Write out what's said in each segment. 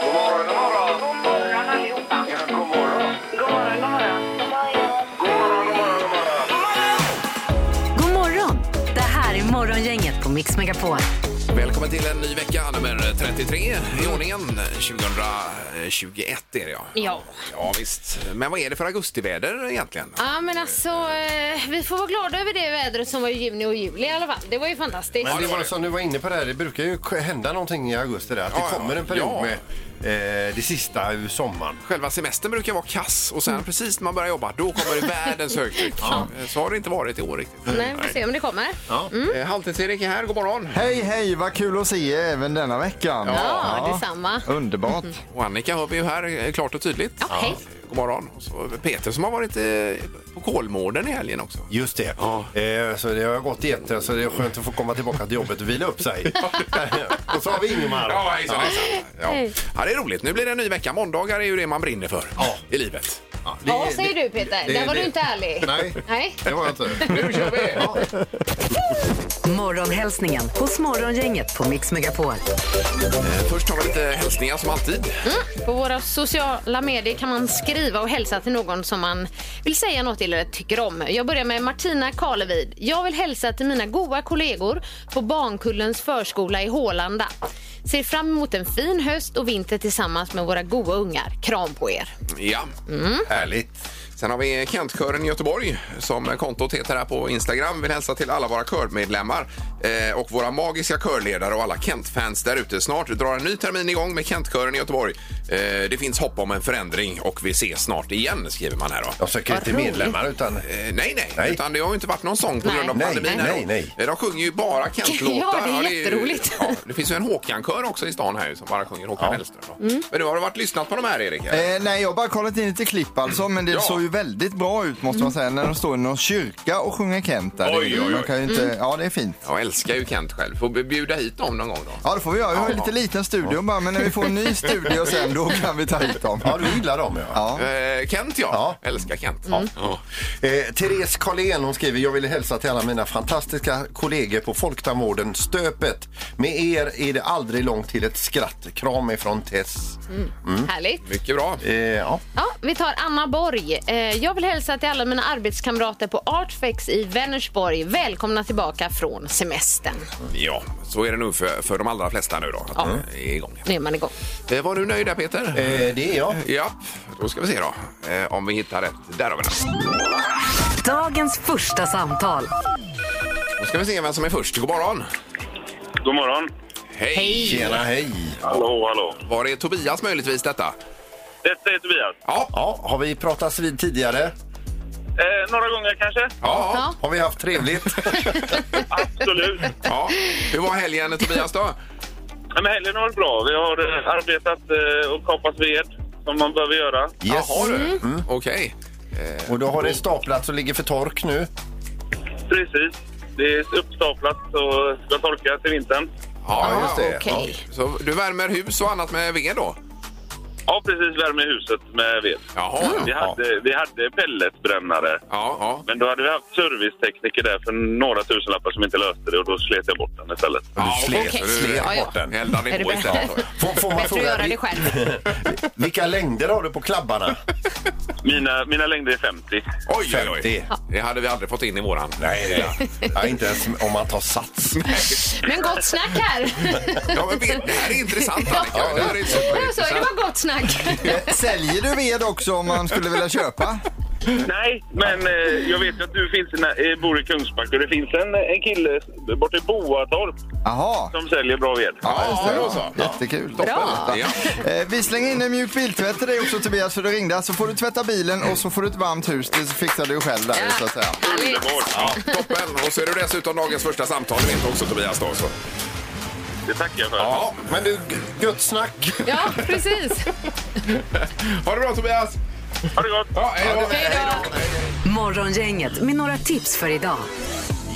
God morgon, god morgon. God morgon allihopa. Ja, god morgon. God morgon, god morgon. God morgon, god morgon, god morgon. God morgon! Det här är Morgongänget på Mix Megapol. Välkommen till en ny vecka, nummer 33 i ordningen. 2021 är det ja. Ja. Ja visst. Men vad är det för augustiväder egentligen? Ja men alltså, eh, vi får vara glada över det vädret som var i juni och juli i alla fall. Det var ju fantastiskt. Men det var som du var inne på där, det brukar ju sk- hända någonting i augusti där. Att det Ja, ja. kommer en period Ja. med eh, det sista ur sommaren. Själva semestern brukar vara kass och Mm. sen precis när man börjar jobba då kommer det världens högtryck. Så har det inte varit i år riktigt. Nej, vi får se Mm. om det kommer. Eh, Halvtids-Erik är här, god morgon. Hej, hej, vad kul att se er även denna veckan. Ja, detsamma. Underbart. Och Annika hör vi ju här eh, klart och tydligt. Ja, hej. God morgon. Och så Peter som har varit eh, på Kolmården i helgen också. Just det. Eh, så det har gått i etern så det är skönt att få komma tillbaka till jobbet och vila upp sig. och så har vi Ingemar. Ja, hejsan, hejsan. Ja. ja, det är roligt. Nu blir det en ny vecka. Måndagar är ju det man brinner för i livet. det- Ja, säger det- du Peter. det- Där var det- du inte ärlig. Nej, Nej. det var jag inte. Nu kör vi! Morgonhälsningen hos Morgongänget på Mix Megapol. Eh, Först tar vi lite hälsningar som alltid. På våra sociala medier kan man skriva och hälsa till någon som man vill säga något till eller tycker om. Jag börjar med Martina Karlevid. Jag vill hälsa till mina goa kollegor på Barnkullens förskola i Hålanda. Ser fram emot en fin höst och vinter tillsammans med våra goa ungar. Kram på er. Ja, härligt. Sen har vi Kentkören i Göteborg som kontot heter här på Instagram. Vill hälsa till alla våra körmedlemmar eh, och våra magiska körledare och alla Kent-fans där ute. Snart drar en ny termin igång med Kentkören i Göteborg. Eh, det finns hopp om en förändring och vi ses snart igen, skriver man här då. Jag söker inte medlemmar utan... Eh, Nej, nej, Nej. Utan det har ju inte varit någon sång på Nej. grund av Nej, pandemin. nej, här nej, då. nej. Eh, De sjunger ju bara Kent-låtar. Ja, det är ju- jätteroligt. Ja, det finns ju en Håkan-kör också i stan här som bara sjunger Håkan Hellström. då. Mm. Men nu har du varit lyssnat på de här, Erik? eller? Eh, nej, jag har bara kollat in lite klipp alltså, men det Ja. såg ju väldigt bra ut måste man säga när de står i någon kyrka och sjunger Kent där. Oj, oj, oj. Man kan ju inte... Ja, det är fint. Jag älskar ju Kent själv. Får vi bjuda hit dem någon gång då? Ja, det får vi göra. Vi har ju Ja. lite liten studio bara, men när vi får en ny studio sen då kan vi ta hit dem. Ja, du gillar dem ja. Ja. Eh, Kent, ja. Ja. Älskar Kent. Mm. Ja. Eh, Therese Karlén hon skriver Jag vill hälsa till alla mina fantastiska kollegor på Folktandvården Stöpet. Med er är det aldrig långt till ett skratt. Kram ifrån Tess. Mm. Härligt. Mycket bra. Eh, ja. Ja, vi tar Anna Borg. Eh, jag vill hälsa till alla mina arbetskamrater på Artfex i Vänersborg. Välkomna tillbaka från semestern. Ja, så är det nog för, för de allra flesta nu då. Att det är igång. Nu är man igång. Eh, var du nöjd där, Peter? eh, det är jag. Ja, då ska vi se då. Eh, om vi hittar rätt. Där har vi den. Dagens första samtal. Då ska vi se vem som är först. God morgon. God morgon. Hej! Tjena, hej. Hallå, hallå. Var det Tobias möjligtvis detta? Detta är Tobias. Ja. Ja, har vi pratats vid tidigare? Eh, några gånger kanske? Ja. Ja. Har vi haft trevligt? Absolut. ja. Hur var helgen Tobias då? Nej, Men helgen har varit bra. Vi har eh, arbetat eh, och kapat ved som man behöver göra. Yes. Jaha du. Mm. Mm, Okej. Och då har det staplats och ligger för tork nu. Precis. Det är uppstaplat och ska torka till vintern. Ja, just det. Okej. Så du värmer hus och annat med ved då? Ja, precis. Värme huset med ved. Jaha. Vi Ja, hade, vi hade pelletbrännare. ja. Men då hade vi haft servicetekniker där för några tusenlappar som inte löste det och då slet jag bort den istället. Ja, slet- okej. slet Du bort den. Eldade Är det på bättre? istället. då, ja. Får, får man Bättre att fråga, göra det vil- själv. vilka längder har du på klabbarna? Mina, mina längder är 50. Oj, oj, oj. 50. Det hade vi aldrig fått in i våran. Nej, ja, inte ens om man tar sats. Men gott snack här. Ja, men ved- det här är intressant Annika. Det här är Jag sa ju, det superintressant. var gott snack. Eh, Säljer du ved också om man skulle vilja köpa? Nej, men eh, jag vet ju att du finns i, nä- eh, bor i Kungsbacka och det finns en, en kille borta i Boatorp Jaha. som säljer bra ved. Ja, just det. Ja, då så. Ja. Jättekul. Bra. Ja. Eh, Vi slänger in en mjuk biltvätt till dig också Tobias för du ringde. Så får du tvätta bilen och så får du ett varmt hus. Det fixar du själv där så att säga. Härligt. Underbart! Ja, toppen! Och så är det dessutom dagens första samtal. Du vet också Tobias då. Så. Det tackar jag för. Ja, Men du, gött snack. Ja, precis. ha det bra Tobias! Ha det gott! Ja, hej då! Hej då. Morgongänget med några tips för idag.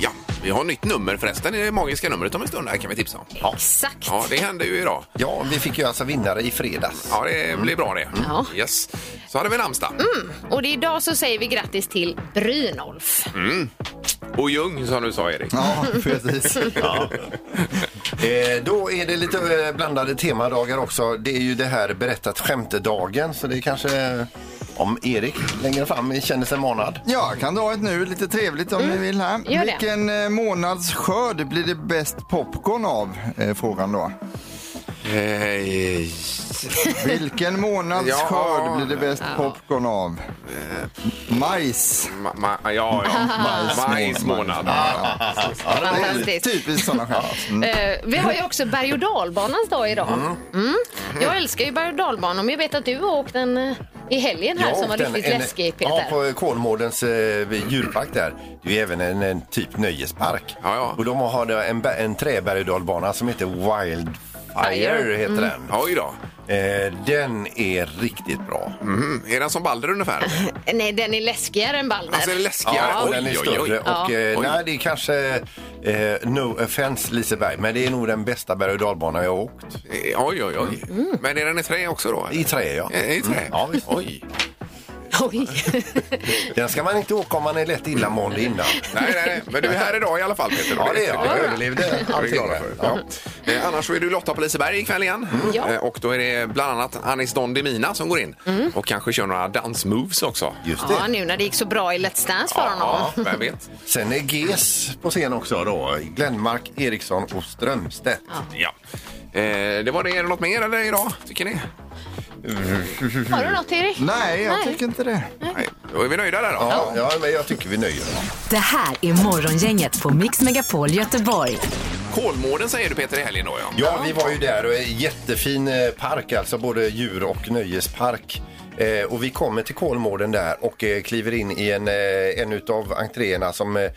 Ja, vi har nytt nummer förresten. Det är det magiska numret om en stund här kan vi tipsa om. Exakt. Ja, det hände ju idag. Ja, vi fick ju alltså vinnare i fredags. Ja, det blir bra det. Ja. Yes. Så hade vi namnsdag. Mm. Och det är idag så säger vi grattis till Brynolf. Och Ljung som du sa Erik. Ja, precis. Eh, då är det lite eh, blandade temadagar också. Det är ju det här berättat skämtedagen så det är kanske eh, om Erik längre fram känner sig manad. Ja, jag kan dra ett nu, lite trevligt om ni vill här. Mm. Gör det. Vilken eh, månads skörd blir det bäst popcorn av? Är frågan då. Eh, Vilken månads Ja. skörd blir det bäst popcorn av? Majs. ma, ma, ja, ja. Majsmånad. Majsmånad. Fantastiskt. Typiskt sådana skämt. Mm. Eh, vi har ju också berg och dalbanans dag idag. Mm. Jag älskar ju berg och dalbanor, men jag vet att du har åkt en eh, i helgen här Jag som var åkte en- riktigt en- läskig, Ja, Peter. på Kolmårdens eh, vid djurpark där. Det är ju även en, en typ nöjespark. Ja, ja. Och de har då en, bä- en träberg och dalbana som heter Wildfire, Fire. Mm. heter den. Oj då. Eh, den är riktigt bra. Mm. Är den som Balder ungefär? Nej, den är läskigare än Balder. Alltså är det läskigare? Ja, Oj, och den är oj, oj. större. Och, eh, Oj. nej, det är kanske, eh, no offense Liseberg, men det är nog den bästa berg och dalbana jag har åkt. Eh, Oj, oj, oj. Men är den i trä också då? Mm. I trä, ja. Eh, I trä? Mm, ja, visst. Oj. Oj. Den ska man inte åka om man är lätt illamående innan. Nej, nej, nej. Men du är här idag i alla fall Peter. Ja, det är jag. Jag överlevde Det är vi allting. Mm. glada för. Ja. Eh, annars så är du Lotta på Liseberg ikväll igen. Ja. Eh, och då är det bland annat Anis Don Demina som går in Mm. och kanske kör några dansmoves också. Just det. Ja, nu när det gick så bra i Let's Dance för honom. Ja, vem vet. Sen är GES på scen också då. Glenmark, Eriksson och Strömstedt. Ja. Eh, det var det. Är det något mer eller idag, tycker ni? Har du något, Erik? Nej, jag tycker inte det. Nej. Då är vi nöjda där då. Ja, ja, men jag tycker vi nöjer oss. Det här är Morgongänget på Mix Megapol Göteborg. Kolmården säger du Peter i helgen då ja. Ja, vi var ju där och en jättefin eh, park, alltså både djur och nöjespark. Eh, och vi kommer till Kolmården där och eh, kliver in i en, eh, en utav entréerna som eh,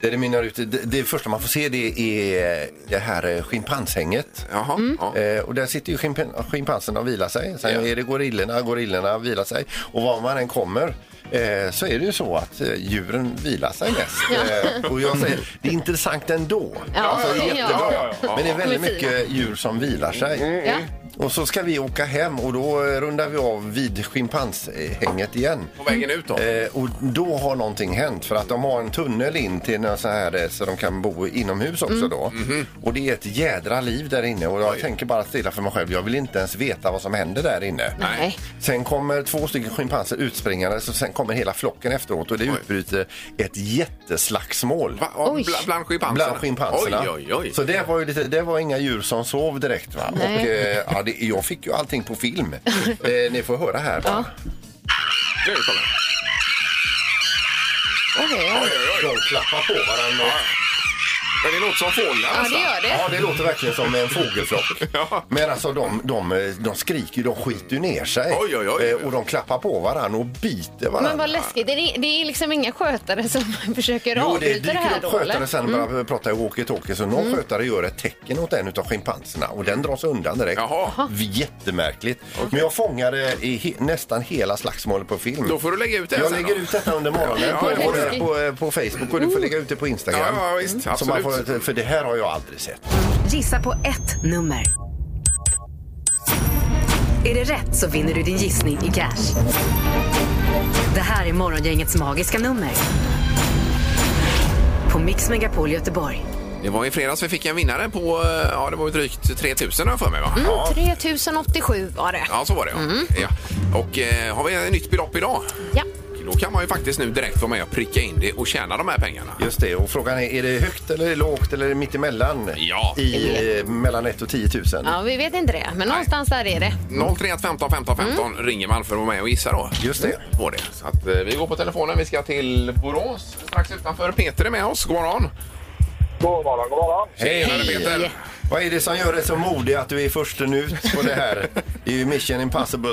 där det mynnar ut. Det, det första man får se det är eh, det här eh, schimpanshänget. Jaha. Ja. Eh, och där sitter ju schimp- schimpanserna och vilar sig. Sen Ja. är det gorillorna, gorillorna vilar sig. Och var man än kommer eh, så är det ju så att eh, djuren vilar sig mest. Eh, och jag säger, det är intressant ändå. Ja, alltså, ja, jättebra. ja, ja, ja. Men det är väldigt De är fina. mycket djur som vilar sig. Ja. Och så ska vi åka hem och då eh, rundar vi av vid schimpanshänget igen. På vägen ut då? Eh, och då har någonting hänt för att de har en tunnel in till någon så här eh, så de kan bo inomhus också Mm. då. Mhm. Och det är ett jädra liv där inne och jag tänker bara stilla för mig själv. Jag vill inte ens veta vad som händer där inne. Nej. Sen kommer två stycken schimpanser utspringande så sen kommer hela flocken efteråt och det utbryter ett jätteslagsmål. Va? Ja, Oj. Bla, bland schimpanserna? Bland schimpanserna. Oj, oj, oj. Så det var, ju lite, det var inga djur som sov direkt. Va? Och, Nej. eh, ja, det, jag fick ju allting på film. eh, ni får höra här. Va? Nu kommer den. Okej, ja. Oj, oj, oj. De klappar på varandra. Men det låter som fåglar ja, det nästan. gör det. Ja, det låter verkligen som en fågelflock. Ja. Men alltså de, de, de skriker, de skiter ner sig. Oj, oj, oj. Eh, Och de klappar på varandra och biter varandra. Men vad läskigt. Det är, det är liksom inga skötare som försöker Jo, det avbryta det, dyker här upp då, eller? Mm. skötare sen bara pratar walkie-talkie. Så någon skötare gör ett tecken åt en utav schimpanserna och den dras undan direkt. Jaha. Jättemärkligt. Men jag fångade i he- nästan hela slagsmålet på film. Då får du lägga ut det här jag sen lägger då. ut detta under morgonen Ja, på, ja, på, läskigt. på, på Facebook och du får lägga ut det på Instagram. Ja, ja, visst, så man absolut. får, för det här har jag aldrig sett. Gissa på ett nummer. Är det rätt så vinner du din gissning i cash. Det här är Morgongängets magiska nummer. På Mix Megapol Göteborg. Det var i fredags vi fick en vinnare på, eh, ja det var ju drygt 3000 har jag för mig va? Ja. 3087 var det. Ja, så var det ja. ja. Och eh, har vi ett nytt belopp idag? Ja. Då kan man ju faktiskt nu direkt vara med och pricka in det och tjäna de här pengarna. Just det, och frågan är, är det högt eller är det lågt eller är det mittemellan? Ja. I, eh, mellan 1 och 10 000. ja, vi vet inte det, men någonstans där är det. 031 15 15 15 ringer man för att vara med och gissa då. Just det. På det. Så att, eh, vi går på telefonen. Vi ska till Borås strax utanför. Peter är med oss. God morgon! God morgon, god morgon. Hej! Peter! Vad är det som gör dig så modig att du är först ut på det här? Det är ju mission impossible.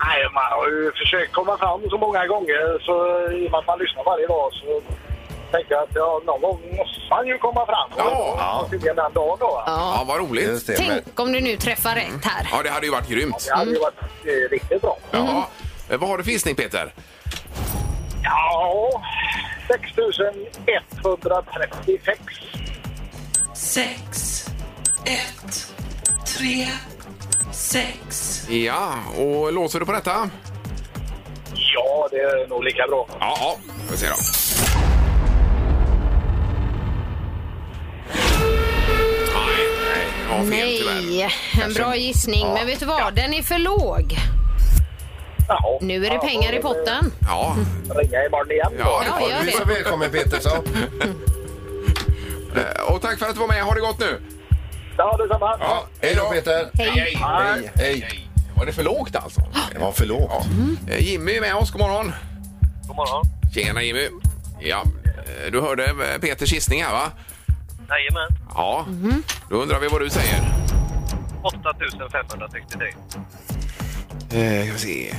Nej, man har ju försökt komma fram så många gånger så i och med att man lyssnar varje dag så tänker jag att ja, någon gång måste man ju komma fram. Ja. Och Tydligen den dagen då. va? Ja, vad Just roligt! det, Mm. men, Tänk om du nu träffar rätt här. Ja, det hade ju varit grymt. Det hade ju varit eh, riktigt bra. Ja. Eh, Vad har du för gissning, Peter? Ja, 6136. sex, ett, tre, sex. Ja, och låser du på detta? Ja, det är nog lika bra. Ja, ja. Får vi se då. Nej. Ja, fel tyvärr. Nej, en Kanske- bra gissning. Men vet du vad? Den är för låg. Jaha. Nu är det pengar i potten. Ja, Ringa imorgon igen då. ja, det Ja, får gör Du är så det. välkommen Petersson. vi. Eh, Och tack för att du var med. Ha det gott nu. Ja, detsamma. Ja, Hej då Peter. Hej. Hej. Hej. Hej. Var det för lågt alltså? Det var för lågt. Eh, Jimmy är med oss. God morgon. God morgon. Tjena Jimmy. Ja, eh, du hörde eh, Peters gissning här va? Jajamän. Ja. Då undrar vi vad du säger. 8563. Eh, ska vi se.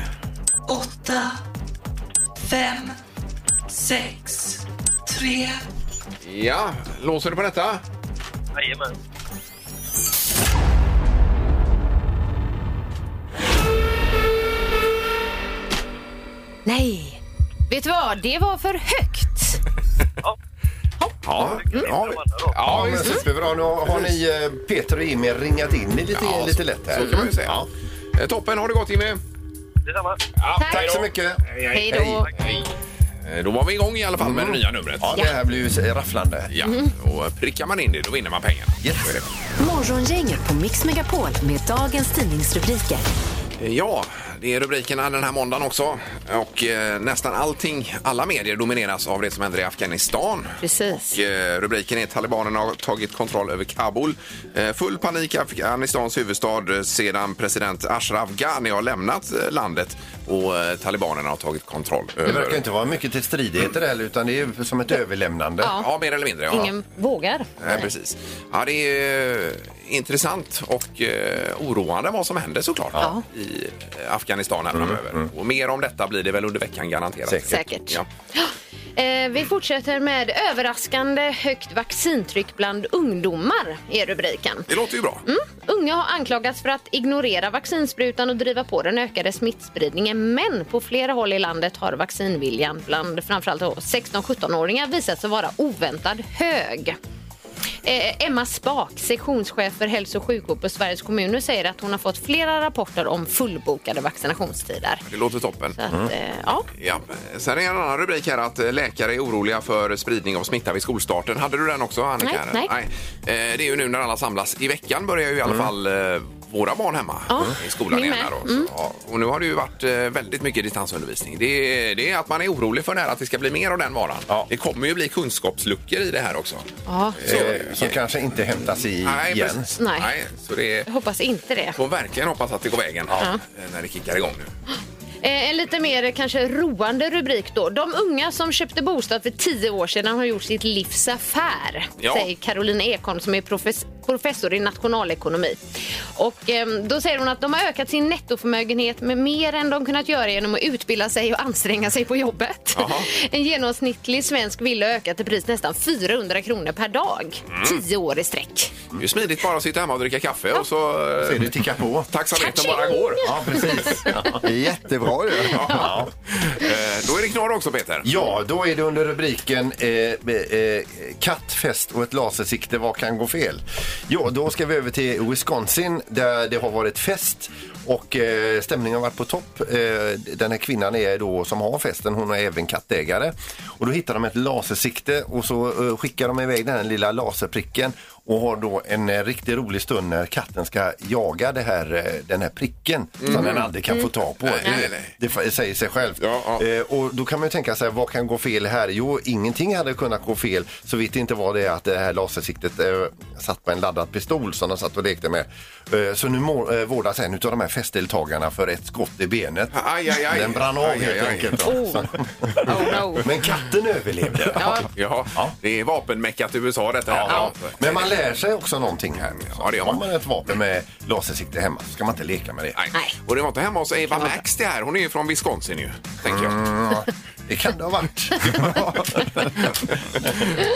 8, 5, 6, 3, Ja, låser du på detta? Jajamän. Nej. Vet du vad? Det var för högt. Ja. Ja, Ja, ja men visst. superbra. Nu har ni eh, Peter och Jimmy ringat in lite, Ja, lite lätt här. Så kan man ju säga. Eh, Toppen, har det gott Jimmy. Detsamma. Ja, Tack. Tack så mycket. Hej då. Hej. Eh, Då var vi igång i alla fall med Mm. det Mm. nya numret. Ja, det här blir ju rafflande. Ja, och prickar man in det då vinner man pengar. Så är det. Morgongänget på Mix Megapol med dagens tidningsrubriker. Eh, Ja, det är rubrikerna den här måndagen också. Och eh, nästan allting, alla medier domineras av det som händer i Afghanistan. Precis. Och, eh, rubriken är Talibanerna har tagit kontroll över Kabul. Eh, full panik i Afghanistans huvudstad eh, sedan president Ashraf Ghani har lämnat eh, landet och eh, talibanerna har tagit kontroll Det över... verkar inte vara mycket till stridigheter heller, utan det är ju som ett överlämnande. Ja. Ja, mer eller mindre. Ja. Ingen vågar. Nej, Eh, precis. Ja, det är eh, intressant och eh, oroande vad som händer såklart i eh, Afghanistan här Mm, framöver. Och mer om detta blir det väl under veckan garanterat. Säkert. Säkert. Ja. Eh, vi fortsätter med överraskande högt vaccintryck bland ungdomar, är rubriken. Det låter ju bra. Mm. Unga har anklagats för att ignorera vaccinsprutan och driva på den ökade smittspridningen. Men på flera håll i landet har vaccinviljan bland framförallt då 16-17-åringar visat sig vara oväntat hög. Eh, Emma Spak, sektionschef för hälso och sjukvård på Sveriges kommuner, säger att hon har fått flera rapporter om fullbokade vaccinationstider. Det låter toppen. Så att, eh, ja. Ja. Sen är det en annan rubrik här att eh, läkare är oroliga för spridning av smitta vid skolstarten. Hade du den också Annika? Nej, nej. Eh, Det är ju nu när alla samlas. I veckan börjar ju i alla Mm. fall eh, våra barn hemma Ja, i skolan min igen. med. Här Mm. då. Så, ja. Och nu har det ju varit eh, väldigt mycket distansundervisning. Det är, det är att man är orolig för det här att det ska bli mer av den varan. Ja. Det kommer ju bli kunskapsluckor i det här också. Ja. Så, Eh, som kanske inte hämtas i nej, igen. precis. Nej. Nej, så det är... Jag hoppas inte det. Får verkligen hoppas att det går vägen eh, när det kickar igång nu. Eh, En lite mer kanske roande rubrik då. De unga som köpte bostad för tio år sedan har gjort sitt livs affär, Ja. säger Caroline Ekholm som är profes- professor i nationalekonomi. Och eh, då säger hon att de har ökat sin nettoförmögenhet med mer än de kunnat göra genom att utbilda sig och anstränga sig på jobbet. Jaha. En genomsnittlig svensk villa har ökat i pris nästan 400 kronor per dag, tio år i sträck. Det är ju smidigt bara att sitta hemma och dricka kaffe och så... eh, Ser det ticka på. Taxametern bara går. Ja, precis. Ja. Det är jättebra ju. Ja. Eh, Då är det knorr också Peter. Ja, då är det under rubriken eh, eh, Kattfest och ett lasersikte, vad kan gå fel? Ja, då ska vi över till Wisconsin där det har varit fest och eh, stämningen har varit på topp. Eh, den här kvinnan är då som har festen, hon är även kattägare. Och då hittar de ett lasersikte och så eh, skickar de iväg den här lilla laserpricken och har då en eh, riktigt rolig stund när katten ska jaga det här, eh, den här pricken som den aldrig kan få tag på. Mm. Nej, Det- nej, nej. Det fa- säger sig självt. Ja, ja. Eh, och då kan man ju tänka sig, vad kan gå fel här? Jo, ingenting hade kunnat gå fel så vitt det inte var det att det här lasersiktet eh, satt på en laddad pistol som de satt och lekte med. Eh, så nu må, eh, vårdas en av de här festdeltagarna för ett skott i benet. Aj, aj, aj. Den brann av Aj, helt aj, aj. enkelt. då. Oh. Oh, no. Men katten överlevde. Ja, det är vapenmeckat USA detta. här. Ja. Men man lär sig också någonting här. Ja, det gör man. Har man ett vapen med lasersikte hemma så ska man inte leka med det. Nej. Nej. Och det var inte hemma hos Eva Max det här. Hon är ju från Wisconsin ju, tänker jag. Mm. Det kan det ha varit. Ja,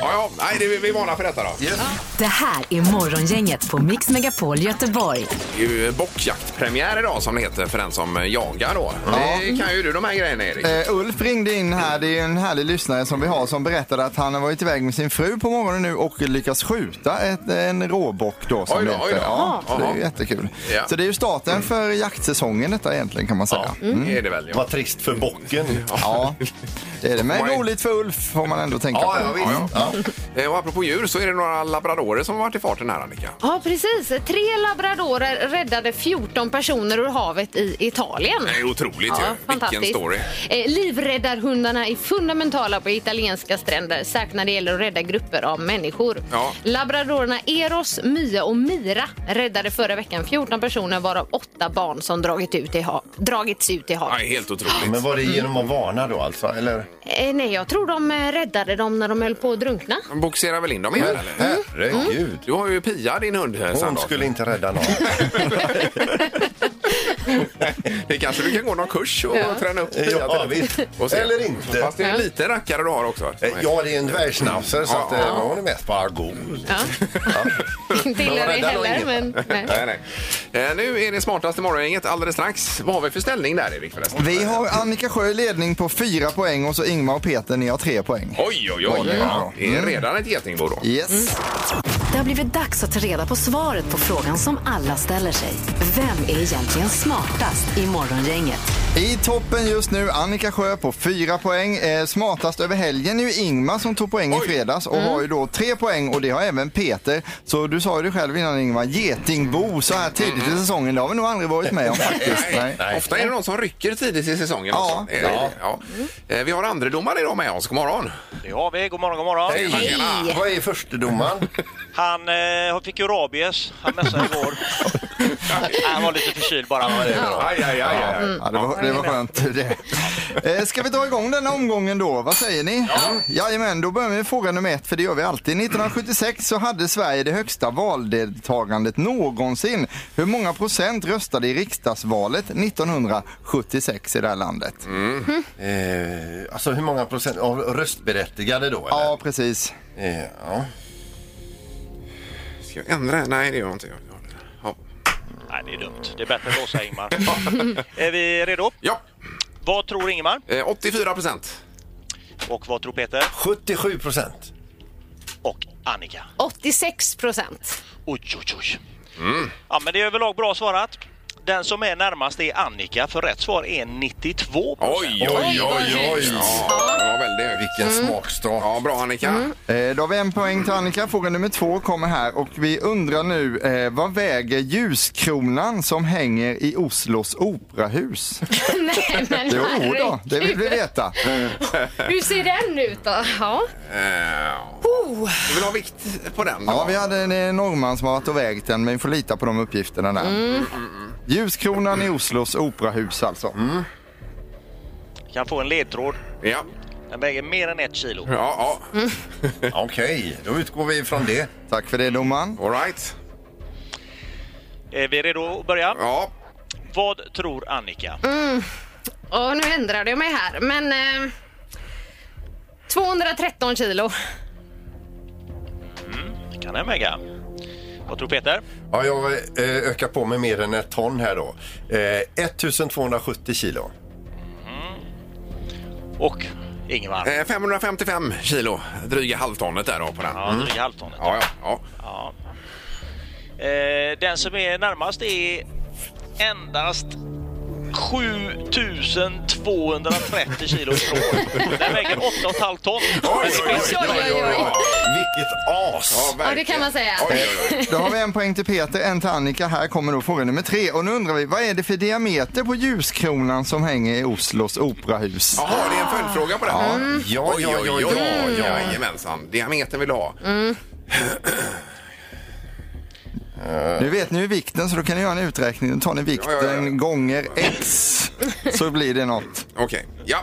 ja. Nej, det, vi varnar för detta då. yes. Det här är Morgongänget på Mix Megapol Göteborg. Det är ju bockjaktpremiär idag som det heter för den som jagar då. Det kan ju du de här grejerna Erik. Eh, Ulf ringde in här, det är en härlig lyssnare som vi har som berättade att han har varit iväg med sin fru på morgonen nu och lyckats skjuta ett, en råbock då som Oj då, det oj heter. då. Ja, så det är Jaha. ju jättekul. Ja. Så det är ju starten för jaktsäsongen detta egentligen kan man säga. Det är det väl. Ja. Vad trist för bocken. Ja, Det är det. Men Får man- roligt för Ulf får man ändå tänka Ja, på. ja, visst. Eh, Och apropå djur så är det några labradorer som har varit i farten här, Annika. Ja, precis. Tre labradorer räddade 14 personer ur havet i Italien. Det är otroligt Ja, ju. Vilken fantastiskt. story. Eh, livräddarhundarna är fundamentala på italienska stränder, särskilt när det gäller att rädda grupper av människor. Ja. Labradorerna Eros, Mia och Mira räddade förra veckan 14 personer varav 8 barn som dragit ut i ha- dragits ut i Ja, havet. helt otroligt. Men var det genom att varna då alltså? Eller? Eh, nej, jag tror de eh, räddade dem när de höll på att drunkna. De bogserar väl in dem igen, eller? Herregud. Du har ju Pia, din hund, eh, Hon Sandra. skulle inte rädda någon. Det kanske du kan gå någon kurs och träna upp Pia Ja, till. visst. Och se. Eller inte. Fast det är en liten rackare du har också. Eh, Ja, det är en dvärgschnauzer så att, eh, men hon är mest bara god. Ja. Inte illa Men det räddar nog heller, ingen. men nej. Nej, nej. Eh, Nu är det smartaste morgongänget alldeles strax. Vad har vi för ställning där, Erik? Förresten? Vi har Annika Sjö i ledning på fyra poäng och så Ingmar och Peter, ni har tre poäng. Oj, oj, oj. Ja, Det är redan ett getingbo då. Yes. Det har blivit dags att ta reda på svaret på frågan som alla ställer sig. Vem är egentligen smartast i Morgongänget? I toppen just nu Annika Sjö på fyra poäng. Eh, smartast över helgen är ju Ingmar som tog poäng i fredags och har ju då tre poäng och det har även Peter. Så du sa ju det själv innan Ingmar, getingbo så här tidigt i säsongen, det har vi nog aldrig varit med om faktiskt. Nej. Nej. Ofta är det någon som rycker tidigt i säsongen. Ja. också. Är det det? Ja. Eh, Vi har andra domare idag med oss. God morgon! Det har vi. God morgon, god morgon. Hej! Vad är förstedomaren? Han eh, fick ju rabies. Han mässade igår. han var lite förkyld bara. Aj, aj, Mm. aj, aj. Ja, det, var, det var skönt det. Eh, ska vi dra igång denna omgången då? Vad säger ni? Ja. Jajamän, då börjar vi med fråga nummer ett, för det gör vi alltid. 1976 så hade Sverige det högsta valdeltagandet någonsin. Hur många procent röstade i riksdagsvalet 1976 i det här landet? Eh, alltså hur många procent av röstberättigade då? Eller? Ja, precis. Eh, ja. Ska jag ändra? Nej, det gör jag inte. Jag- jag- Ja. Nej, det är dumt. Det är bättre att låsa Ingmar. är vi redo? ja. Vad tror Ingmar? Eh, 84 procent. Och vad tror Peter? 77 procent. Och Annika? 86 procent. Oj, oj, oj. Ja, men det är överlag bra svarat. Den som är närmast är Annika, för rätt svar är 92 Oj, oj, oj, oj. Ja, det var väldigt högt. Vilken smakstart. Ja, bra Annika. Eh, då har vi en poäng till Annika. Fråga nummer två kommer här och vi undrar nu, eh, vad väger ljuskronan som hänger i Oslos operahus? Nej, men Jo, då, det vill herregud. vi veta. Hur ser den ut då? Ja. Eh, Oh. Du vill ha vikt på den? Ja, vi hade en eh, norrman som har varit och vägt den, men vi får lita på de uppgifterna där. Mm. Ljuskronan i Oslos operahus alltså. Kan få en ledtråd. Ja, Den väger mer än ett kilo. ja, Mm. ja. Okej, då utgår vi från det. Tack för det domaren. All right. Är vi redo att börja? Ja. Vad tror Annika? Och nu ändrade jag mig här, men... Eh, 213 kilo. Kan den väga? Vad tror Peter? Ja, jag eh, ökar på med mer än ett ton här då. Eh, 1270 kilo. Och Ingvar? Eh, 555 kilo, dryga halvtonnet där då på den. Ja, Ja, dryga halvtonet. ja, ja. Ja. Eh, den som är närmast är endast 7230 kilo ifrån. Den väger 8,5 ton. Oj, oj, oj, Oj, oj, oj. Vilket as! Ja, det kan man säga. Oj, oj, oj. Då har vi en poäng till Peter, en till Annika. Här kommer då fråga nummer tre. Och nu undrar vi, vad är det för diameter på ljuskronan som hänger i Oslos operahus? Jaha, det är en följdfråga på den? Ja, ja, ja, ja, ja, ja. Jajamensan. Diametern vill du ha. Nu vet ni ju vikten, så då kan ni göra en uträkning. Då tar ni vikten Ja, ja, ja. gånger x, så blir det något. Okej, ja.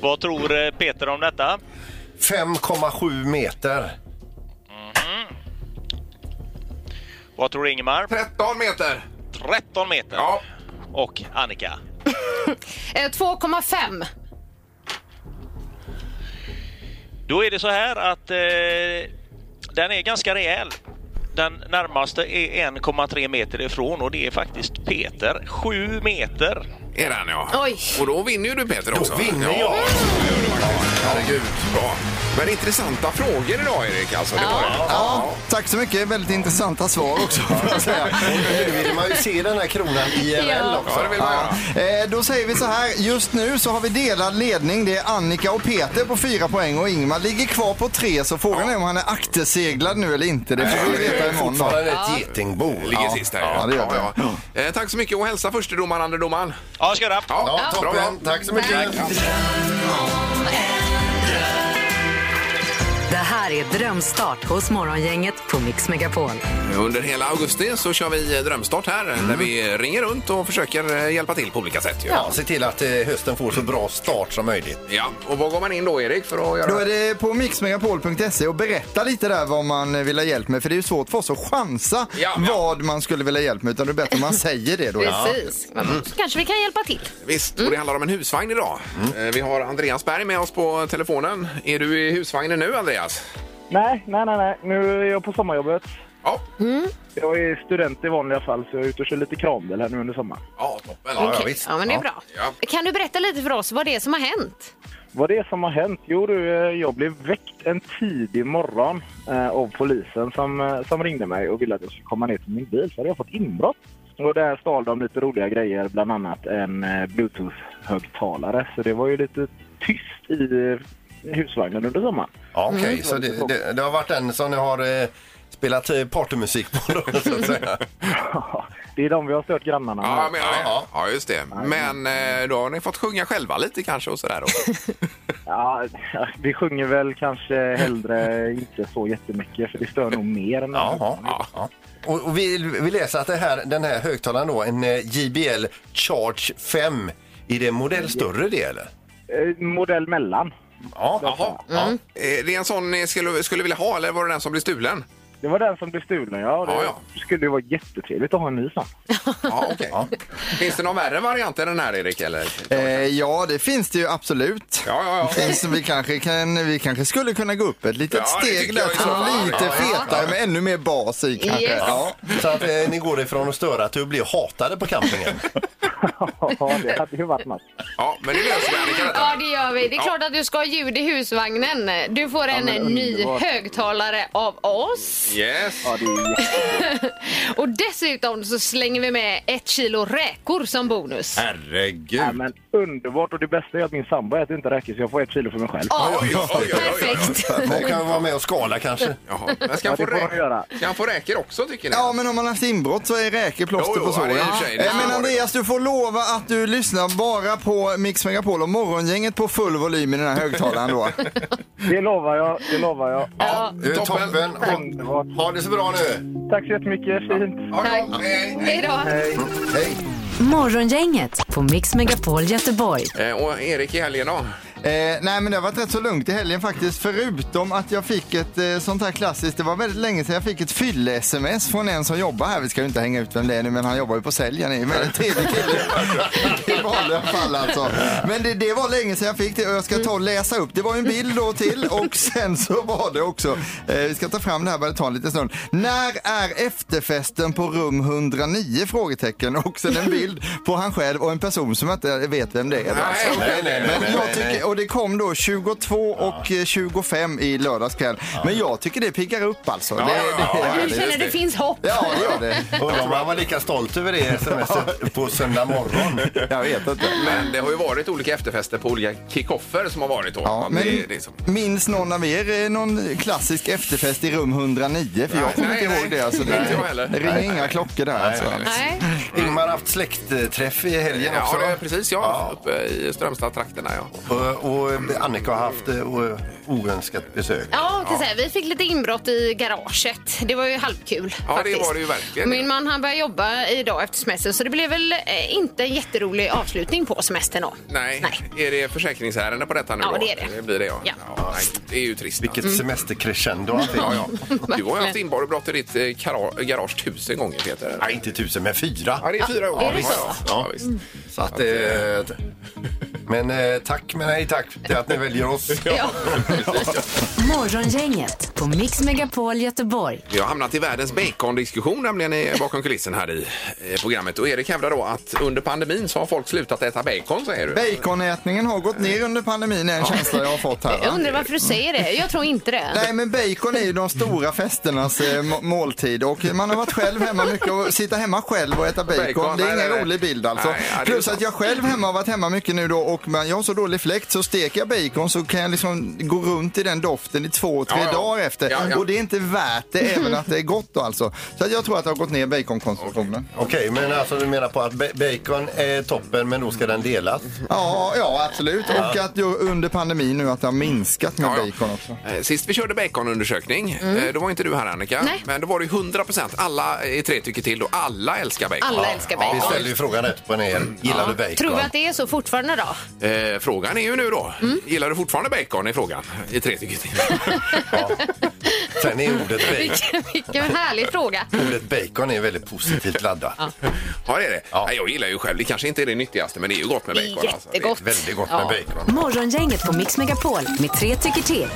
Vad tror eh, Peter om detta? 5,7 meter. Vad tror Ingemar? 13 meter. 13 meter. Ja. Och Annika? Eh, 2,5. Då är det så här att eh, den är ganska rejäl. Den närmaste är 1,3 meter ifrån och det är faktiskt Peter. 7 meter. Är den ja. Oj. Och då vinner ju du Peter också. vinner jag. Herregud. Bra. Men intressanta frågor idag Erik alltså. Det var det. Ja, tack så mycket. Väldigt intressanta svar också. får jag säga. Nu vill man ju se den här kronan IRL Ja. också. Ja, det vill man göra. Eh, Då säger vi så här, just nu så har vi delad ledning. Det är Annika och Peter på fyra poäng och Ingmar ligger kvar på tre. Så frågan är om han är akterseglad nu eller inte. Det får vi veta imorgon då. Fortfarande ett getingbo. Ligger sist här. ja, det gör det. ja. Eh, tack så mycket och hälsa förstedomaren, underdomaren. Ja, jag ska göra. Ja, bra, bra. toppen. Tack så mycket. Det här är Drömstart hos Morgongänget på Mix Megapol. Under hela augusti så kör vi eh, drömstart här Mm. där vi ringer runt och försöker eh, hjälpa till på olika sätt. Ju. Ja, se till att eh, hösten får så bra start som möjligt. Ja, och vad går man in då Erik för att göra? Då är det på mixmegapol.se och berätta lite där vad man eh, vill ha hjälp med. För det är ju svårt för oss att chansa Ja, ja. vad man skulle vilja ha hjälp med. Utan det är bättre om man säger det då. Precis. Så kanske vi kan hjälpa till. Visst, Mm. och det handlar om en husvagn idag. Eh, Vi har Andreas Berg med oss på telefonen. Är du i husvagnen nu Andreas? Nej, nej, nej, nej. Nu är jag på sommarjobbet. Ja, Mm. Jag är student i vanliga fall så jag är ute och kör lite kranbil här nu under sommaren. ja toppen. Ja, ja, Okej. visst. Ja, men det är bra. Ja. Kan du berätta lite för oss vad det är som har hänt? Vad det är som har hänt? Jo du, eh, jag blev väckt en tidig morgon eh, av polisen som, eh, som ringde mig och ville att jag skulle komma ner till min bil så hade jag fått inbrott. Och där stal de lite roliga grejer, bland annat en eh, bluetooth-högtalare. Så det var ju lite tyst i eh, husvagnen under sommaren. Ja, Okej, så det, det, det har varit den som ni har eh, spelat eh, partymusik på då, så att säga. det är de vi har stört grannarna Ja, jag med. menar det. Ja, Ja, just det. Men eh, då har ni fått sjunga själva lite kanske och sådär då. Ja, vi sjunger väl kanske hellre inte så jättemycket för det stör nog mer än Jaha, ja. Och, och vi, vi läser att det här, den här högtalaren då, en eh, JBL Charge 5, är det en modell större det eller? Eh, Modell mellan. Ja, jaha. Ja. Eh, Det är en sån ni skulle, skulle vilja ha eller var det den som blev stulen? Det var den som blev stulen, ja. Det Ja, ja. skulle ju vara jättetrevligt att ha en ny sån. Ja, okej. Finns det någon värre variant än den här Erik? Eller? Ja, Eh, ja, det finns det ju absolut. ja, ja. Finns, vi, kanske kan, vi kanske skulle kunna gå upp ett litet Ja, det steg tycker där jag i till så något fall. lite Ja, ja, fetare med ännu mer bas i kanske. Yes. Ja. Så att eh, ni går ifrån att störa till att bli hatade på campingen. Ja, det hade ju varit något. Ja, men det löser vi Annika Ja, detta. det gör vi. Det är klart att du ska ha ljud i husvagnen. Du får en men ny underbart. högtalare av oss. Yes. Ja, det är jätte- Och dessutom så slänger vi med ett kilo räkor som bonus. Herregud. ja, men underbart och det bästa är att min sambo äter inte räkor så jag får ett kilo för mig själv. Ja, Oj, oj, oj, oj, oj. perfekt. Man kan vara med och skala kanske. Jaha. Men ska han få Ja, det får han rä- göra. ska han få räkor också tycker ni? Ja, men om man haft inbrott så är räkor plåster Jo, jo, på ja, såren. det är i och för sig, det Eh, Men förstår Andreas, du får lova att du lyssnar bara på Mix Megapol och Morgongänget på full volym i den här högtalaren då. Det lovar jag, det lovar jag. Ja. Du, toppen. Underbart. Ha, ha det så bra nu. Tack så jättemycket, fint. Ja, Eh, Tack. ja, hej, hej. Hej då. Hej. Morgongänget på Mix Megapol Göteborg. Eh, Och Erik i helgen då? Eh, nej, men det har varit rätt så lugnt i helgen faktiskt. Förutom att jag fick ett eh, sånt här klassiskt, det var väldigt länge sedan jag fick ett fylle-sms från en som jobbar här. Vi ska ju inte hänga ut vem det är nu, men han jobbar ju på säljan. Han är en väldigt trevlig kille. I vanliga fall alltså. Men det, det var länge sedan jag fick det och jag ska ta och läsa upp. Det var ju en bild då till och sen så var det också, eh, vi ska ta fram det här bara det tar en liten stund. När är efterfesten på rum 109? Frågetecken. Och sen en bild på han själv och en person som jag inte vet vem det är. Då, alltså. Nej, nej, nej, Men nej, jag nej, nej. tycker, och det kom då 22 och eh, 25 i lördags kväll. Men jag tycker det piggar upp alltså. det, ja, ja. det är Nu härligt. känner det finns hopp. Ja, det gör det. Undrar om han var lika stolt över det smset på söndag morgon. Jag vet inte. Men det har ju varit olika efterfester på olika kickoffer som har varit då. Ja, Man men blir liksom- Minns någon av er eh, någon klassisk efterfest i rum 109? För jag Nej, kommer nej, inte nej. ihåg det. Alltså, det, Inte jag heller. det ringer inga klockor där. Alltså. Nej. Ingmar har haft släktträff i helgen Ja, också. det är precis. Ja, uppe i Strömstad-trakterna. Ja. Och, och Annika har haft eh, o- oönskat besök. Ja, jag kan säga, vi fick lite inbrott i garaget. Det var ju halvkul. Ja, det faktiskt. var det ju verkligen. Min man han började jobba idag efter semestern så det blev väl eh, inte en jätterolig avslutning på semestern. Då. Nej. Nej. är det försäkringsärende på detta nu Ja, då? det är det. Det blir det, ja. Ja. nej, det är ju trist. Vilket semestercrescendo han fick. Ja, ja. Du har ju haft Verkligen. inbrott i ditt eh, kara- garage tusen gånger, Peter. Nej, inte tusen, men Ja, fyra. det är fyra gånger. är det så? Mm. Ja, ja, visst. Så att, eh, men eh, tack, men nej tack till att ni väljer oss. Ja. Morgongänget på Mix Megapol Göteborg. Vi har hamnat i världens bacon-diskussion nämligen i- bakom kulissen här i eh, programmet. Och Erik hävdar då att under pandemin så har folk slutat äta bacon, säger du. Baconätningen har gått ner under pandemin är en känsla jag har fått här. Jag va? undrar varför du säger det. Jag tror inte det. Nej men bacon är ju de stora festernas eh, må- måltid och man har varit själv hemma mycket och sitta hemma själv och äta bacon, Bacon, det nej, är ingen nej, nej. rolig bild alltså. Nej, ja, det är Plus sant. att jag själv hemma har varit hemma mycket nu då och men jag har så dålig fläkt så steker jag bacon så kan jag liksom gå runt i den doften i två, tre Ja, ja. dagar efter Ja, ja. och det är inte värt det även att det är gott då, alltså. Så att jag tror att det har gått ner baconkonsumtionen. Okej, men alltså du menar på att ba- bacon är toppen men då ska den delas? Ja, ja absolut och att ju under pandemin nu att det har minskat med Ja, ja. bacon också. Eh, Sist vi körde baconundersökning, mm. då var inte du här Annika, Nej. men då var det ju 100 procent. Alla eh, i tre tycker till då. Alla älskar bacon. Alla älskar bacon. Vi ställer ju frågan rätt på ner. Gillar du bacon? Tror vi att det är så fortfarande då? Eh, frågan är ju nu då, Mm. gillar du fortfarande bacon i frågan? I tre tycker till. Sen är ordet bacon, Vilken, vilken härlig fråga. ordet bacon är väldigt positivt laddat. ja, det är det. Ja. Nej, jag gillar ju själv, det kanske inte är det nyttigaste, men det är ju gott med Det är bacon. alltså. Det är- jättegott. Väldigt gott Ja. med bacon. Morgongänget på Mix Megapol med tre tycker till.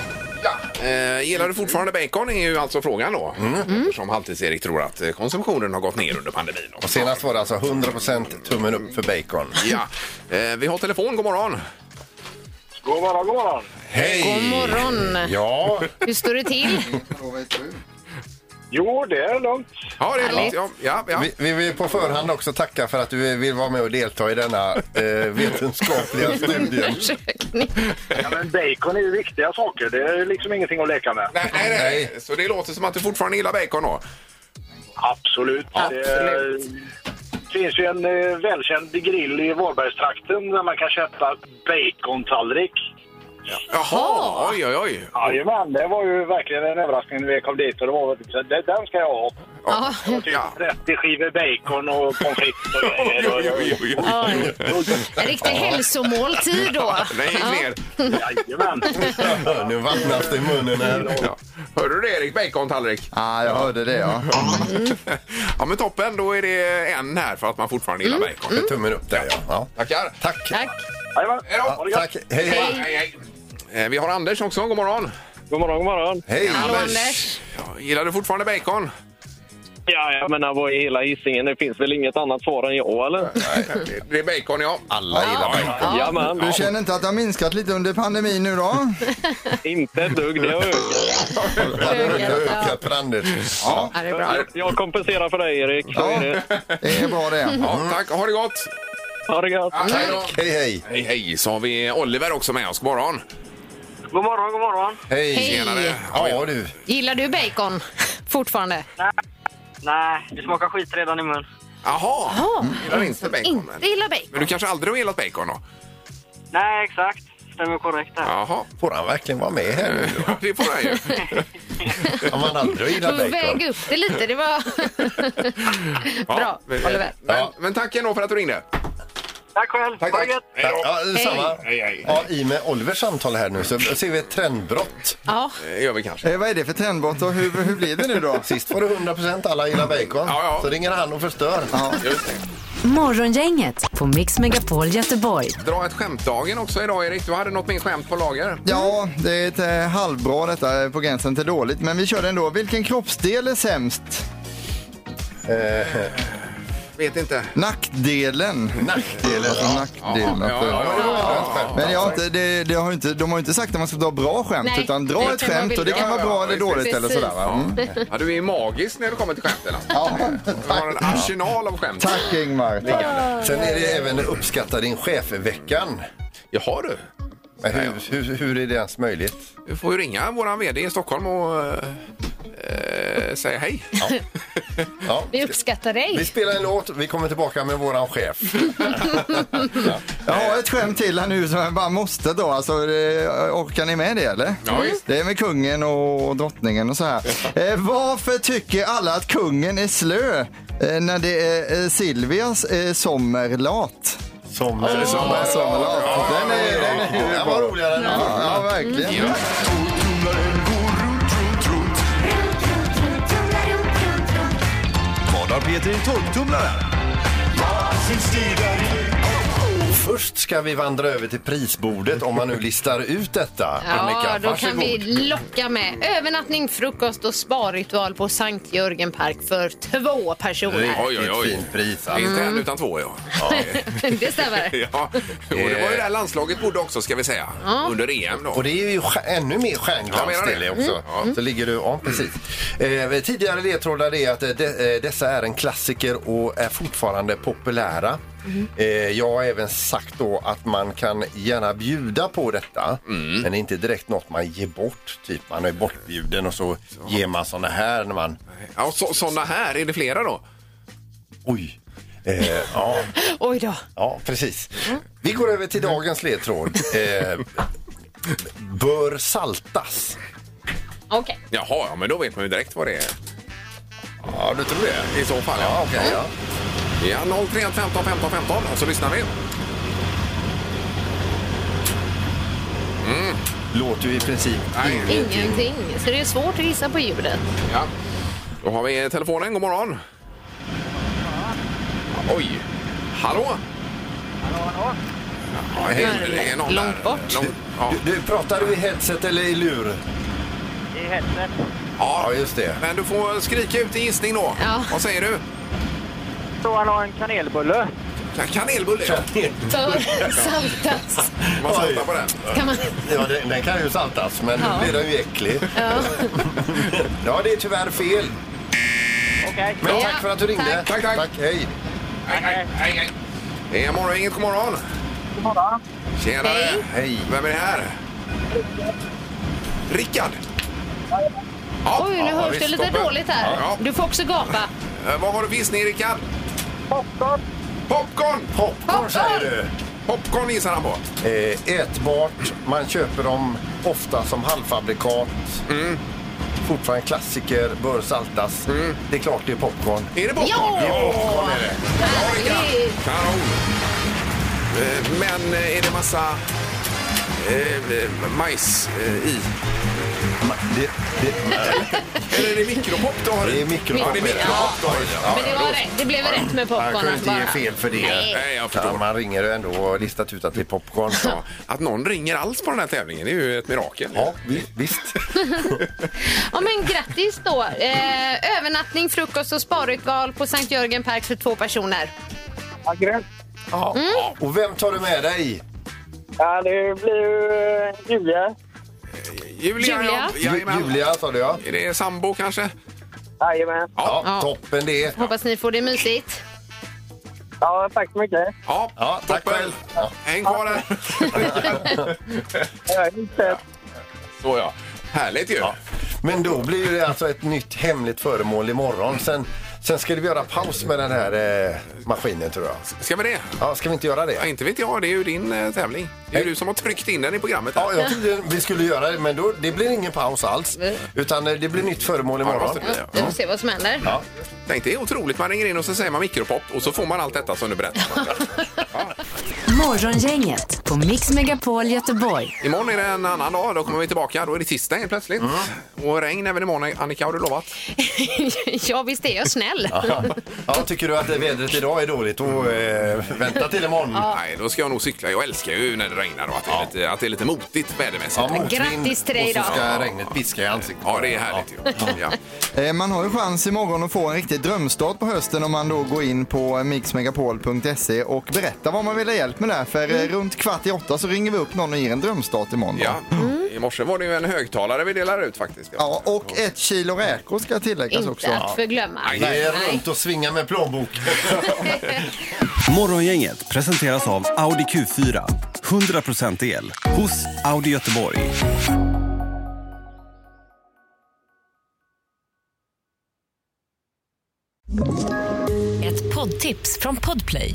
Ja. Eh, gillar du fortfarande bacon är ju alltså frågan då. Mm. Eftersom Halvtids-Erik tror att eh, konsumtionen har gått ner under pandemin. då. Och senast var det alltså 100% tummen upp för bacon. Ja. Eh, vi har telefon, god morgon. God morgon, god morgon. Hej! God morgon. Ja, Hur står det till? Jo, det är lugnt. Ja, det är Härligt. bra. Ja, ja, ja. vi, vi vill på förhand också tacka för att du vill vara med och delta i denna eh, vetenskapliga studie. Undersökning. Ja, men bacon är ju viktiga saker. Det är liksom ingenting att leka med. Nej, nej, nej. Så det låter som att du fortfarande gillar bacon då? Absolut. Absolut. Det finns ju en eh, välkänd grill i Varbergstrakten där man kan köpa bacontallrik. Jaha, oj, oj, oj. Jajamän, det var ju verkligen en överraskning när vi kom dit. Och det var, väl- typ så det- den ska jag ha. Ja. Och typ Ja. 30 skivor bacon och pommes frites och Oj, oj, oj, grejer. oj. Ja. En riktig hälsomåltid då. Den gick Ja. ner. Jajamän. Nu vattnas det i munnen här. Ja. Hörde du det Erik? Bacontallrik. Ja, jag hörde det ja. Ja men toppen, då är det en här för att man fortfarande gillar bacon. Tummen upp där ja. ja. Tackar. Tack! Tack. Jajamän. Hej då. Ha det gött. Tack! Hej! Hej! Hej, hej. Eh, Vi har Anders också, god morgon. God morgon, god morgon. Hej. Hallå Anders. Ja, gillar du fortfarande bacon? Ja, jag menar, vad är hela Hisingen? Det finns väl inget annat svar än jag, eller? Det- Det är bacon ja. Alla gillar bacon. Jajamän. Du känner inte att det har minskat lite under pandemin nu då? Inte ett dugg. Det har ökat. Ja, det har ökat för Anders. Ja. Ja, det är bra. Jag kompenserar för dig, Erik. Så Ja, är det. det är bra det. ja. Tack, ha det gott. Ha det gött. Hej då. Hej, hej! Hej, hej. Så har vi Oliver också med oss, god morgon. God morgon, god morgon. Hej! Tjenare. Hej. Ja du, Gillar du bacon fortfarande? Nej, det smakar skit redan i mun. Jaha, gillar inte bacon. Mm. Inte Men, gillar bacon. men du kanske aldrig har gillat bacon då? Nej, exakt. Stämmer korrekt där. Jaha, får han verkligen vara med här nu? Ja, det får han ju. Om han aldrig Du gillar får bacon. väga upp det lite. Det var... Bra, men- Oliver. Men, Ja. men tack ändå för att du ringde. Tack själv. Tack, ha det tack. gött. Hej då. Ja, detsamma. Hej, hej. Ja, I och med Olivers samtal här nu så ser vi ett trendbrott. Ja, Det gör vi kanske. Eh, vad är det för trendbrott och hur, hur blir det nu då? Sist var det 100% alla gillar bacon. Ja, ja. Så ringer han och förstör. Just det. Morgongänget på Mix Megapol Göteborg. Dra ett skämtdagen också idag Erik. Du hade något mer skämt på lager. Ja, det är ett eh, halvbra detta, eh, på gränsen till dåligt. Men vi kör det ändå. Vilken kroppsdel är sämst? Vet inte. Nackdelen. Nackdelen. Alltså nackdelen. Ja, ja, Men jag har inte, det, det har ju inte, de har ju inte sagt att man ska dra bra skämt, Nej, utan det dra ett kan vara skämt och det vilket. kan vara bra Ja, eller ja, dåligt eller precis. sådär. Va? Mm. Ja, du är magisk när du kommer till skämten. Alltså. Ja, Du har en arsenal av skämt. tack Ingmar. Tack. Sen är det även uppskatta din chef-veckan. Jaha du. Men hur, hur, hur är det ens möjligt? Du får ju ringa våran vd i Stockholm och eh, eh, säga hej. Ja. vi uppskattar Vi dig. spelar en låt, vi kommer tillbaka med våran chef. Jag har ett skämt till här nu som jag bara måste dra. Alltså, det- orkar ni med det eller? Mm. Ja, visst. Det är med kungen och drottningen och så här. Eh, varför tycker alla att kungen är slö eh, när det är eh, Silvias eh, sommerlat? Som, Sommar, sommerlat. Den är, den är ju Den var bra. roligare än Ja, ja, verkligen. Ja. först ska vi vandra över till prisbordet om man nu listar ut detta. Ja, Annika, då kan vi varsågod. locka med övernattning, frukost och sparritual på Sankt Jörgen Park för två personer. Oj, oj, oj. Mm. Fint pris. Ja, alltså. Inte en utan två, ja. ja. Det stämmer. ja. Och det var ju det här landslaget bodde också, ska vi säga, under EM. Och Då. det är ju stjär- ännu mer stjärnglans Jag menar till det. Mm. det också. Så ligger du, ja precis. Eh, tidigare ledtrådar är att eh, de, eh, dessa är en klassiker och är fortfarande populära. Mm. Eh, jag har även sagt då att man kan gärna bjuda på detta Mm. men det är inte direkt något man ger bort. Typ man är bortbjuden och så ger man såna här när man... Ja, och så, sådana här, är det flera då? Oj! Eh, ja, Oj då. ja, precis. Vi går över till dagens ledtråd. Eh, bör saltas. Okej. Jaha, ja, men då vet man ju direkt vad det är. Ja, du tror det? I så fall, Ja, ja. okej. ja. Ja, 031 15 15 15 och så lyssnar vi. Låter ju i princip... Nej. Ingenting. Så det är svårt att gissa på ljudet. Mm. Ja. Då har vi telefonen. God morgon. Oj. Hallå? Ja, det är- det är någon Långt där. bort. Lång- ja. Du, du, pratar du i headset eller i lur? I headset. Ja, Ja, just det. men du får skrika ut en gissning då. Ja. Vad säger du? Så han har en kanelbulle. Ka- Kanelbulle. För saltas. Man saltar Oj. på den. Kan man... Ja, den, den kan ju saltas, men Ja. nu blir den ju äcklig. Ja. Ja, det är tyvärr fel. Okej. Men Ja, tack för att du ringde. tack. Tack, tack. hej. Nej, nej, nej, nej. Det är morgon, inget god morgon. God morgon. Tjenare. Hej. Hej. Vem är det här? Rickard. Ja, Oj, nu ja, hörs visst, det lite toppen. dåligt här. Ja. Du får också gapa. Eh, Vad har du för gissning, Rickard? Popcorn. Popcorn! Popcorn säger du. Popcorn gissar han på. Eh, ätbart. Man köper dem ofta som halvfabrikat. Mm. Fortfarande klassiker. Bör saltas. Det är klart det är popcorn. Är det popcorn? Ja! Det är popcorn, är det. Ja, Rickard. Härligt. Kanon. Eh, Men eh, är det massa eh, eh, majs eh, i? Ma- Det, det, Eller är det mikropop du har i? det är mikropop. Ja, det är mikropop du har i. Ja. Men det var rätt. Det blev rätt med Man kunde popcornen inte ge bara. fel för det. Nej. Nej, jag Ja, förstår. man ringer ju ändå och har listat ut att det är popcorn. Ja, att någon ringer alls på den här tävlingen det är ju ett mirakel. Ja, vi- visst. Ja, men grattis då. Eh, övernattning, frukost och sparritual på Sankt Jörgen Park för två personer. Ja, grymt. Ja. Mm. Och vem tar du med dig? Ja, det blir ju eh, Julia. Julia, Julia? Ja, jajamän. Julia sa du ja. Är det sambo kanske? Jajamän. Ja, Ja. Toppen det. Hoppas ni får det mysigt. Ja, tack så mycket. Ja, Ja, tack toppen. själv. Ja. Häng kvar där. Ja, just det. Så ja. Härligt ju. Ja. Men då blir det alltså ett nytt hemligt föremål imorgon. Sen, sen ska vi göra paus med den här eh, maskinen tror jag. Ska vi det? Ja, ska vi inte göra Ja, det? inte vet jag, det är ju din eh, tävling. Det är ju du som har tryckt in den i programmet. Här. Ja, jag trodde vi skulle göra det, men då, det blir ingen paus alls. Utan eh, det blir nytt föremål Ja, det imorgon. måste det bli, ja. Vi får se vad som händer. Tänk, det är otroligt. Man ringer in och så säger man mikropop och så får man allt detta som du berättar. Morgongänget på Mix Megapol Göteborg. Imorgon är det en annan dag. Då kommer vi tillbaka. Då är det tisdag helt plötsligt. Och regn även imorgon. Annika, har du lovat? ja, visst är jag snäll. Ja, tycker du att det vädret idag är dåligt, då eh, vänta till imorgon. Nej, då ska jag nog cykla. Jag älskar ju när det regnar och att, det, är lite, att det är lite motigt vädermässigt. Ja, Ja, motvind, Grattis till dig Och så då. ska regnet piska i ansiktet. det är härligt ju. Ja. Eh, Man har ju chans imorgon att få en riktig drömstart på hösten om man då går in på mixmegapol.se och berättar vad man vill ha hjälp med där. För eh, runt kvart i åtta så ringer vi upp någon och ger en drömstart imorgon. då. Mm. Ja. I morse var det ju en högtalare vi delade ut faktiskt. Ja, och ett kilo räkor ska tilläggas också. Inte att förglömma. Det är runt och svinga med plånboken. Morgongänget presenteras av Audi Q4. 100% el hos Audi Göteborg. Ett poddtips från Podplay.